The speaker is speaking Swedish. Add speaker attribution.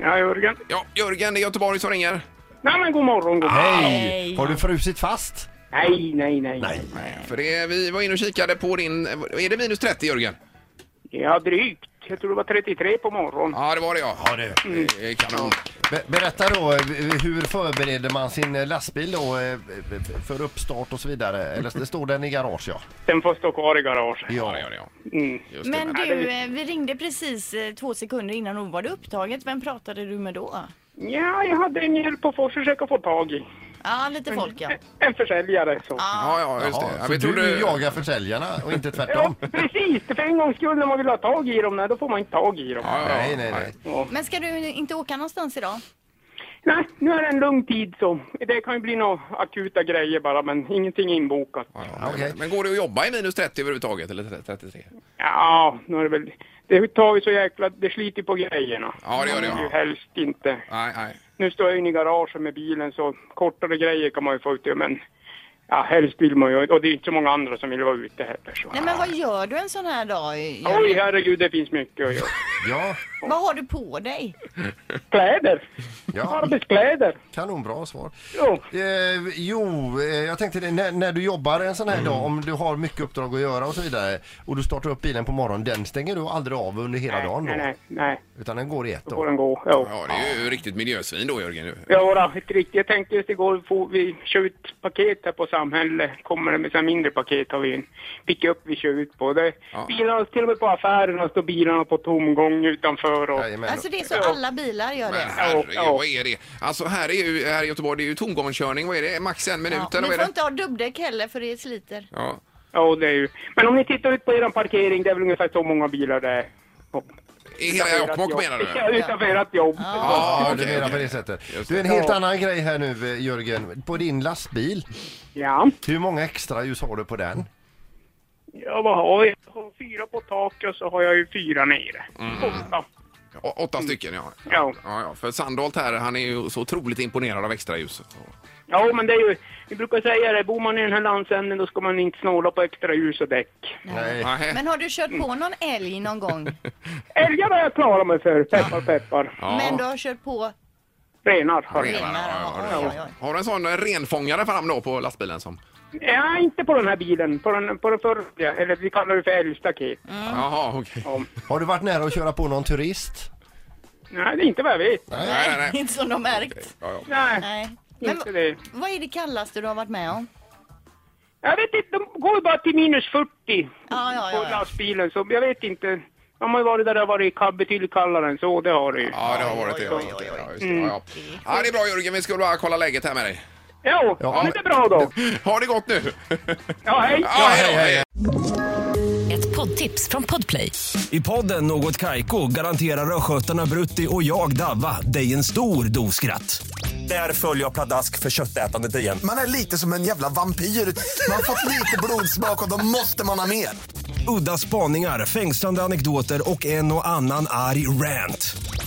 Speaker 1: Ja, Jörgen.
Speaker 2: Ja, Jörgen i Göteborg som ringer.
Speaker 1: Nej, men god morgon. God. morgon.
Speaker 3: Hej! Har du frusit fast?
Speaker 1: Nej, nej, nej.
Speaker 2: För det, vi var inne och kikade på din... Är det minus 30 Jörgen?
Speaker 1: Ja, drygt. Jag tror det var 33 på morgonen.
Speaker 2: Ja, det var det ja.
Speaker 3: Ja, du.
Speaker 2: Det är Kanon.
Speaker 3: Be- berätta då, eh, hur förbereder man sin eh, lastbil då eh, för uppstart och så vidare? Eller det står den i garage ja?
Speaker 1: Den får stå kvar i garaget.
Speaker 2: Ja, det gör det ja.
Speaker 1: Mm.
Speaker 2: Just det.
Speaker 4: Men du, eh, vi ringde precis eh, två sekunder innan och var det upptaget. Vem pratade du med då?
Speaker 1: Ja, jag hade en hjälp att få, försöka få tag i.
Speaker 4: Ja, lite folk ja.
Speaker 1: En försäljare. Så.
Speaker 2: Ja, ja, just det.
Speaker 3: Jaha,
Speaker 2: Ja,
Speaker 3: så
Speaker 2: vi
Speaker 3: du
Speaker 2: trodde...
Speaker 3: jagar försäljarna och inte
Speaker 1: Ja,
Speaker 3: tvärtom?
Speaker 1: precis. För en gångs skull när man vill ha tag i dem, nej, då får man inte tag i dem.
Speaker 2: Ja, ja,
Speaker 3: Nej, nej, nej.
Speaker 1: Ja.
Speaker 4: Men ska du inte åka någonstans idag?
Speaker 1: Nej, nu är det en lugn tid så. Det kan ju bli några akuta grejer bara, men ingenting inbokat.
Speaker 2: Ja, ja,
Speaker 3: Okej.
Speaker 2: Men går det att jobba i minus 30 överhuvudtaget? Eller 33?
Speaker 1: Ja, nu är det väl... Det tar ju så jäkla... Det sliter ju på grejerna.
Speaker 2: Ja, det gör det, ja.
Speaker 1: Man vill ju helst inte.
Speaker 2: Nej, nej.
Speaker 1: Nu står jag inne i garaget med bilen så kortare grejer kan man ju få ut det, men... Ja, helst vill man ju... Och det är inte så många andra som vill vara ute heller så.
Speaker 4: Nej men vad gör du en sån här dag? eh, Jörgen?
Speaker 1: Oj, herregud, det finns mycket att göra.
Speaker 3: Ja,
Speaker 4: Vad har du på dig?
Speaker 1: Kläder!
Speaker 3: ja.
Speaker 1: Arbetskläder!
Speaker 3: kanonbra svar.
Speaker 1: Jo.
Speaker 3: Eh, jo, eh, jag tänkte det, när, när du jobbar en
Speaker 2: Mm.
Speaker 3: sån här dag, om du har mycket uppdrag att göra och så vidare och du startar upp bilen på morgonen, den stänger du aldrig av under hela dagen då?
Speaker 1: Nej, nej, nej.
Speaker 3: Utan den går i ett
Speaker 1: Då får
Speaker 3: då?
Speaker 1: den gå. Jo.
Speaker 2: Ja, det är ju riktigt miljösvin då Jörgen. ju.
Speaker 1: Ja, då, helt riktigt. Jag tänkte just igår, får vi kör ut paket här på samhället. Kommer det med så här mindre paket har vi en pickup vi kör ut på. Det,
Speaker 2: Ja.
Speaker 1: bilarna, till och med på affärerna står bilarna på tomgång utanför. Och,
Speaker 3: Jajamän.
Speaker 4: Alltså det är så alla bilar gör
Speaker 2: Men
Speaker 4: det.
Speaker 2: herregud,
Speaker 1: Ja.
Speaker 2: vad är det? Alltså här, är ju, här i Göteborg, det är ju tomgångskörning. Vad är det? Max en minut
Speaker 4: Ja,
Speaker 2: eller
Speaker 4: ni
Speaker 2: vad är
Speaker 4: får
Speaker 2: det?
Speaker 4: inte ha dubbdäck heller för det sliter.
Speaker 2: Ja.
Speaker 1: ja, det är ju. Men om ni tittar ut på er parkering, det är väl ungefär så många bilar det är. Och-
Speaker 2: I hela
Speaker 1: utanför ert
Speaker 2: Jokkmokk
Speaker 1: jobb.
Speaker 2: menar du?
Speaker 1: Ja, utanför ert jobb.
Speaker 2: Ja,
Speaker 3: Ja,
Speaker 2: okej,
Speaker 3: du menar på
Speaker 2: okej.
Speaker 3: det sättet.
Speaker 2: Just
Speaker 3: Du, en
Speaker 1: det.
Speaker 3: helt
Speaker 1: Ja.
Speaker 3: annan grej här nu eh, Jörgen. På din lastbil,
Speaker 1: Ja.
Speaker 3: hur många extra ljus har du på den?
Speaker 1: ja, vad har jag? Jag har fyra på taket och så har jag ju fyra nere.
Speaker 2: Mm.
Speaker 1: Åtta.
Speaker 2: Å- Åtta stycken ja.
Speaker 1: Mm. Ja.
Speaker 2: ja, ja. För Sandholt här, han är ju så otroligt imponerad av extraljuset.
Speaker 1: Ja, men det är ju, vi brukar säga det, bor man i den här landsänden då ska man inte snåla på extra ljus och däck.
Speaker 3: Nej.
Speaker 2: Nähä.
Speaker 4: Men har du kört på någon älg någon gång?
Speaker 1: Älgar har jag klarat mig för, peppar peppar.
Speaker 2: Ja.
Speaker 4: Men du har kört på
Speaker 1: Renar har jag.
Speaker 4: renar? Ja,
Speaker 2: ja,
Speaker 4: oj,
Speaker 2: ja.
Speaker 4: oj, oj.
Speaker 2: Har du en sån eh, renfångare fram då på lastbilen som?
Speaker 1: Ja, inte på den här bilen, på den, på den förra, eller vi kallar det för älgstaket.
Speaker 2: Mm.
Speaker 4: Mm.
Speaker 2: Jaha, okej.
Speaker 1: Ja.
Speaker 3: Har du varit nära att köra på någon turist?
Speaker 1: Nej, det är inte vad jag vet.
Speaker 2: Nej, nej, nej.
Speaker 4: Inte som de märkt.
Speaker 2: Ja, ja.
Speaker 1: Nej,
Speaker 4: Nej. Men
Speaker 1: inte det.
Speaker 4: vad är det kallaste du har varit med om?
Speaker 1: Jag vet inte, de går ju bara till minus 40
Speaker 4: Ja, ja,
Speaker 1: på
Speaker 4: ja, ja.
Speaker 1: lastbilen, så jag vet inte. De har ju varit där det har varit ka- betydligt kallare än så, det har det ju.
Speaker 2: Ja, det har varit det.
Speaker 4: Oj, oj, oj, Mm. oj.
Speaker 2: Ja, just det. Ja, ja. ja, det är bra Jörgen. Vi skulle bara kolla läget här med dig.
Speaker 1: Jo,
Speaker 3: Ja,
Speaker 1: ja, men det är bra då.
Speaker 2: Ha det gott nu!
Speaker 1: Ja, hej!
Speaker 2: Ja, hej, då, hej.
Speaker 5: Ett poddtips från Podplay.
Speaker 6: I podden Något Kaiko garanterar östgötarna Brutti och jag, Davva, dig en stor dos skratt. Där följer jag pladask för köttätandet igen.
Speaker 7: Man är lite som en jävla vampyr. Man har fått lite blodsmak och då måste man ha mer.
Speaker 6: Udda spaningar, fängslande anekdoter och en och annan arg rant.